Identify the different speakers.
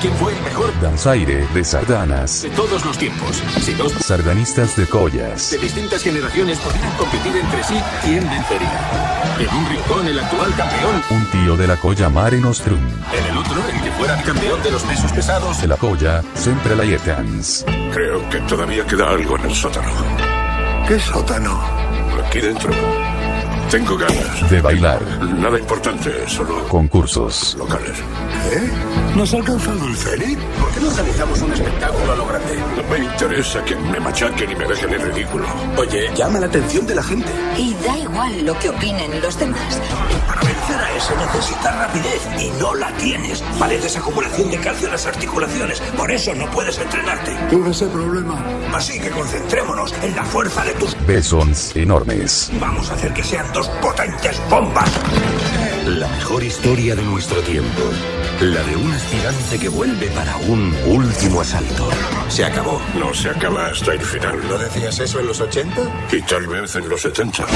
Speaker 1: ¿Quién fue el mejor
Speaker 2: Danzaire de sardanas.
Speaker 1: de todos los tiempos? Si dos
Speaker 2: Sardanistas de
Speaker 1: de
Speaker 2: collas.
Speaker 1: distintas generaciones podrían competir entre sí, ¿quién vencería? En un rincón el actual campeón,
Speaker 2: Un tío de la colla Mare Nostrum.
Speaker 1: en el otro el que fuera campeón de los pesos pesados.
Speaker 2: De la colla, siempre la Yetans.
Speaker 3: Creo que todavía queda algo en el sótano.
Speaker 4: ¿Qué sótano?
Speaker 3: Aquí dentro. Tengo ganas.
Speaker 2: De bailar.
Speaker 3: Nada importante, solo
Speaker 2: Concursos.
Speaker 3: locales.
Speaker 4: ¿Eh? ¿Nos ha alcanzado el Zenit?
Speaker 1: ¿Por qué no realizamos un espectáculo a lo grande?
Speaker 3: No me interesa que me machaquen y me dejen en ridículo.
Speaker 1: Oye, llama la atención de la gente.
Speaker 5: Y da igual lo que opinen los demás.
Speaker 6: Para vencer a ese necesitas rapidez y no la tienes. Padeces acumulación de calcio en las articulaciones, por eso no puedes entrenarte.
Speaker 4: Tuve ese problema.
Speaker 6: Así que concentrémonos en la fuerza de tus...
Speaker 2: Besons enormes.
Speaker 6: Vamos a hacer que sean dos potentes bombas.
Speaker 7: La mejor historia de nuestro tiempo. La de un aspirante que vuelve para un último asalto.
Speaker 6: Se acabó.
Speaker 3: No se acaba hasta el final.
Speaker 4: ¿Decías eso en los 80?
Speaker 3: Y tal vez en los 70.